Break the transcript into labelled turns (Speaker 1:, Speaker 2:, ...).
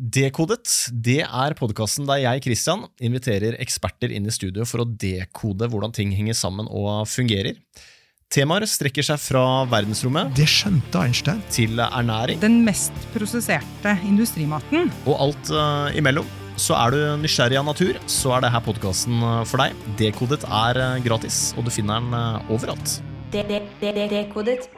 Speaker 1: Dekodet det er podkasten der jeg Christian, inviterer eksperter inn i studio for å dekode hvordan ting henger sammen og fungerer. Temaer strekker seg fra verdensrommet
Speaker 2: Det skjønte Einstein.
Speaker 1: til ernæring
Speaker 3: Den mest prosesserte industrimaten.
Speaker 1: og alt eh, imellom. Så er du nysgjerrig av natur, så er det her podkasten for deg. Dekodet er eh, gratis, og du finner den eh, overalt.
Speaker 4: Det- det- det- det- Dekodet.